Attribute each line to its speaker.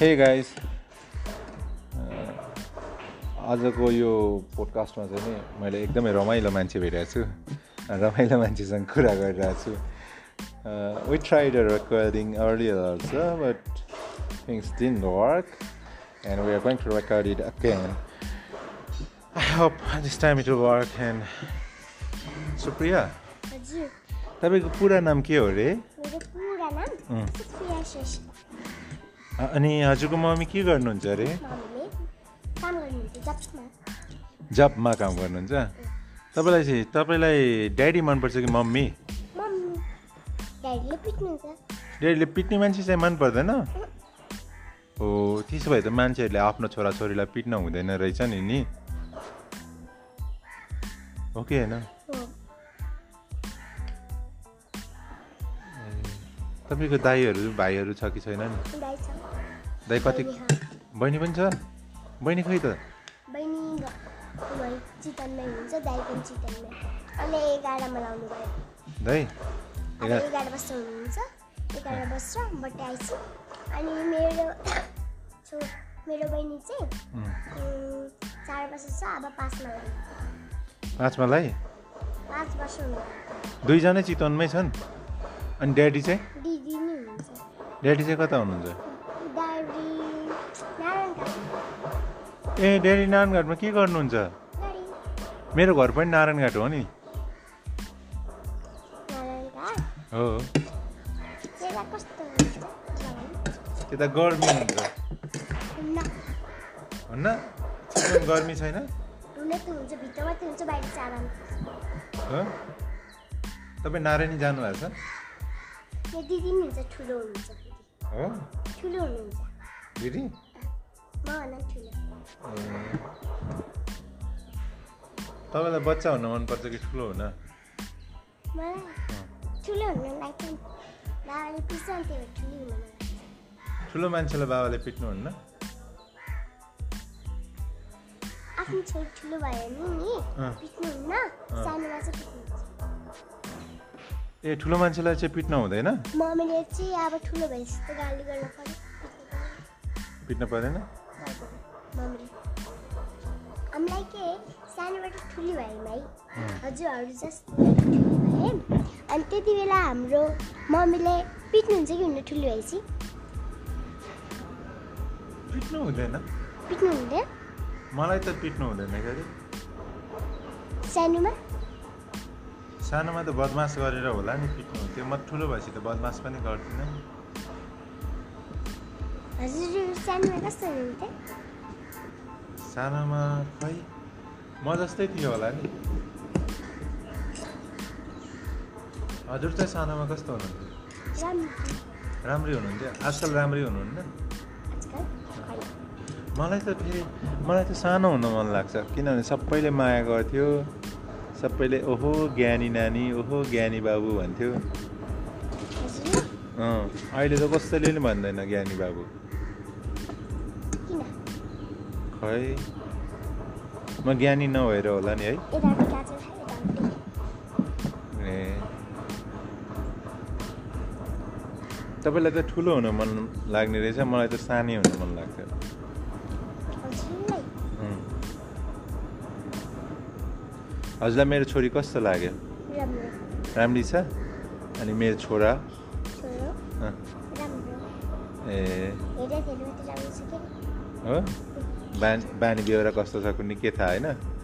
Speaker 1: हे guys Uh, आजको यो पोडकास्टमा चाहिँ नि मैले एकदमै रमाइलो मान्छे भेटेको छु रमाइलो मान्छेसँग कुरा गरिरहेको छु Uh, we tried recording earlier also but things didn't work and we are going to record it again I hope this time it work and Supriya
Speaker 2: हजुर
Speaker 1: तपाईँको पुरा नाम के हो अरे
Speaker 2: मेरो पुरा नाम
Speaker 1: अँ।
Speaker 2: सुप्रिया श्रेष्ठ
Speaker 1: अ- अनि हजुरको मम्मी के गर्नुहुन्छ अरे
Speaker 2: मम्मीले काम गर्नुहुन्थ्यो जबमा
Speaker 1: जबमा काम गर्नुहुन्छ तपाईँलाई चाहिँ तपाईँलाई ड्याडी मनपर्छ कि मम्मी
Speaker 2: मम्मी ड्याडीले पिट्नुहुन्छ
Speaker 1: ड्याडीले पिट्ने मान्छे चाहिँ मन पर्दैन हो त्यसो भए त मान्छेहरूले आफ्नो छोराछोरीलाई पिट्न हुँदैन रहेछ नि नि हो कि होइन
Speaker 2: हो
Speaker 1: तपाईँको दाईहरू भाइहरू छ कि छैन नि
Speaker 2: दाइ छ
Speaker 1: दाई कति
Speaker 2: बहिनी छ।
Speaker 1: बहिनी पनि छ बहिनी खै त
Speaker 2: बहिनी घ- घरै चितवनमै हुनुहुन्छ दाइ पनि चितवनमै अनि एघारमा लाउनु भयो
Speaker 1: दाई
Speaker 2: अब
Speaker 1: एघार
Speaker 2: एघार वर्ष हुनुहुन्छ एघार वर्ष बट्टे आइसु अनि मेरो छो मेरो बहिनी चाहिँ
Speaker 1: उम्,
Speaker 2: उम्, चार वर्ष छ अब पाँचमा लाउनु
Speaker 1: पाँचमालाई
Speaker 2: पाँच वर्ष हुनुहुन्छ
Speaker 1: दुईजना चितवनमै छन् अनि ड्याडी चाहिँ
Speaker 2: दिदी नै हुनुहुन्छ
Speaker 1: ड्याडी चाहिँ कता हुनुहुन्छ
Speaker 2: ड्याडी नारायण काका
Speaker 1: ए ड्याडी नारायणघाटमा के गर्नुहुन्छ
Speaker 2: ड्याडी
Speaker 1: मेरो घर पनि नारायणघाट हो नि
Speaker 2: नारायण काका
Speaker 1: हो
Speaker 2: त्यसलाई कस्तो हुन्छ
Speaker 1: त्यता गर्मी हुन्छ
Speaker 2: हुन्न
Speaker 1: हुन्न चितवन गर्मी छैन
Speaker 2: हुन त हुन्छ भित्र मात्रै हुन्छ बाहिर चाहिँ आराम
Speaker 1: हो तपाईँ नारायणी जानुभएको छ
Speaker 2: मेरो दिदी नि हुन्छ ठुलो हुनुहुन्छ फेरि।
Speaker 1: हो
Speaker 2: ठुलो हुनुहुन्छ
Speaker 1: दिदी
Speaker 2: म भन्दा पनि ठुलो
Speaker 1: ए, तपाईँलाई बच्चा हुन मनपर्छ कि ठुलो हुन
Speaker 2: मलाई ठुलो हुनु लाग्छ नि बाबाले पिस्छ त्यही भएर ठुलो हुनु मन लाग्छ।
Speaker 1: ठुलो मान्छेलाई बाबाले पिट्नुहुन्न
Speaker 2: आफ्नो छोरी ठुलो भयो भने नि
Speaker 1: अँ।
Speaker 2: पिट्नुहुन्न
Speaker 1: अँ।
Speaker 2: सानोमा चाहिँ पिट्नुहुन्छ
Speaker 1: ए ठुलो मान्छेलाई चाहिँ पिट्न हुँदैन
Speaker 2: मम्मीले चाहिँ अब ठुलो भएपछि त गाली गर्न पऱ्यो पिट्नु पऱ्यो।
Speaker 1: पिट्न परेन
Speaker 2: मम्मी हामीलाई के सानोबाट ठुली भयौँ है हजुरहरू जस्तो ठुली भयौँ अनि त्यति बेला हाम्रो मम्मीले पिट्नुहुन्छ कि हुन्न ठुली भएपछि
Speaker 1: पिट्नु हुँदैन
Speaker 2: पिट्नु हुँदैन
Speaker 1: मलाई त पिट्नु हुँदैन के अरे
Speaker 2: सानोमा
Speaker 1: सानोमा त बदमास गरेर होला नि पिट्नु हुन्थ्यो म ठुलो भएपछि त बदमास पनि गर्दिनँ नि।
Speaker 2: हजुर सानोमा कस्तो हुनुहुन्थ्यो
Speaker 1: सानोमा खै म जस्तै थियो होला नि हजुर चाहिँ सानोमा कस्तो हुनुहुन्थ्यो
Speaker 2: राम्रो
Speaker 1: राम्रै
Speaker 2: थियो
Speaker 1: हुनुहुन्थ्यो आजकल राम्रै हुनुहुन्न
Speaker 2: आजकल खै।
Speaker 1: मलाई त फेरि मलाई त सानो हुन मन लाग्छ किनभने सबैले माया गर्थ्यो सबैले ओहो ज्ञानी नानी ओहो ज्ञानी बाबु भन्थ्यो
Speaker 2: हजुर
Speaker 1: अँ अहिले त कसैले नि भन्दैन ज्ञानी बाबु
Speaker 2: किन
Speaker 1: खै म ज्ञानी नभएर होला नि है
Speaker 2: यतापट्टि काँचो छ यतापट्टि
Speaker 1: ए तपाईँलाई त ठुलो हुन मन लाग्ने रहेछ मलाई त सानै हुन मन लाग्थ्यो
Speaker 2: हजुरलाई
Speaker 1: उम्. हजुरलाई मेरो छोरी कस्तो लाग्यो
Speaker 2: राम्रो
Speaker 1: राम्री छ अनि मेरो छोरा
Speaker 2: छोरो
Speaker 1: अँ,
Speaker 2: राम्रो
Speaker 1: ए
Speaker 2: हेर्दा धेरै मात्रै राम्रो छ कि
Speaker 1: हो बानी बानी बेहोरा कस्तो छ कुनै के थाहा होइन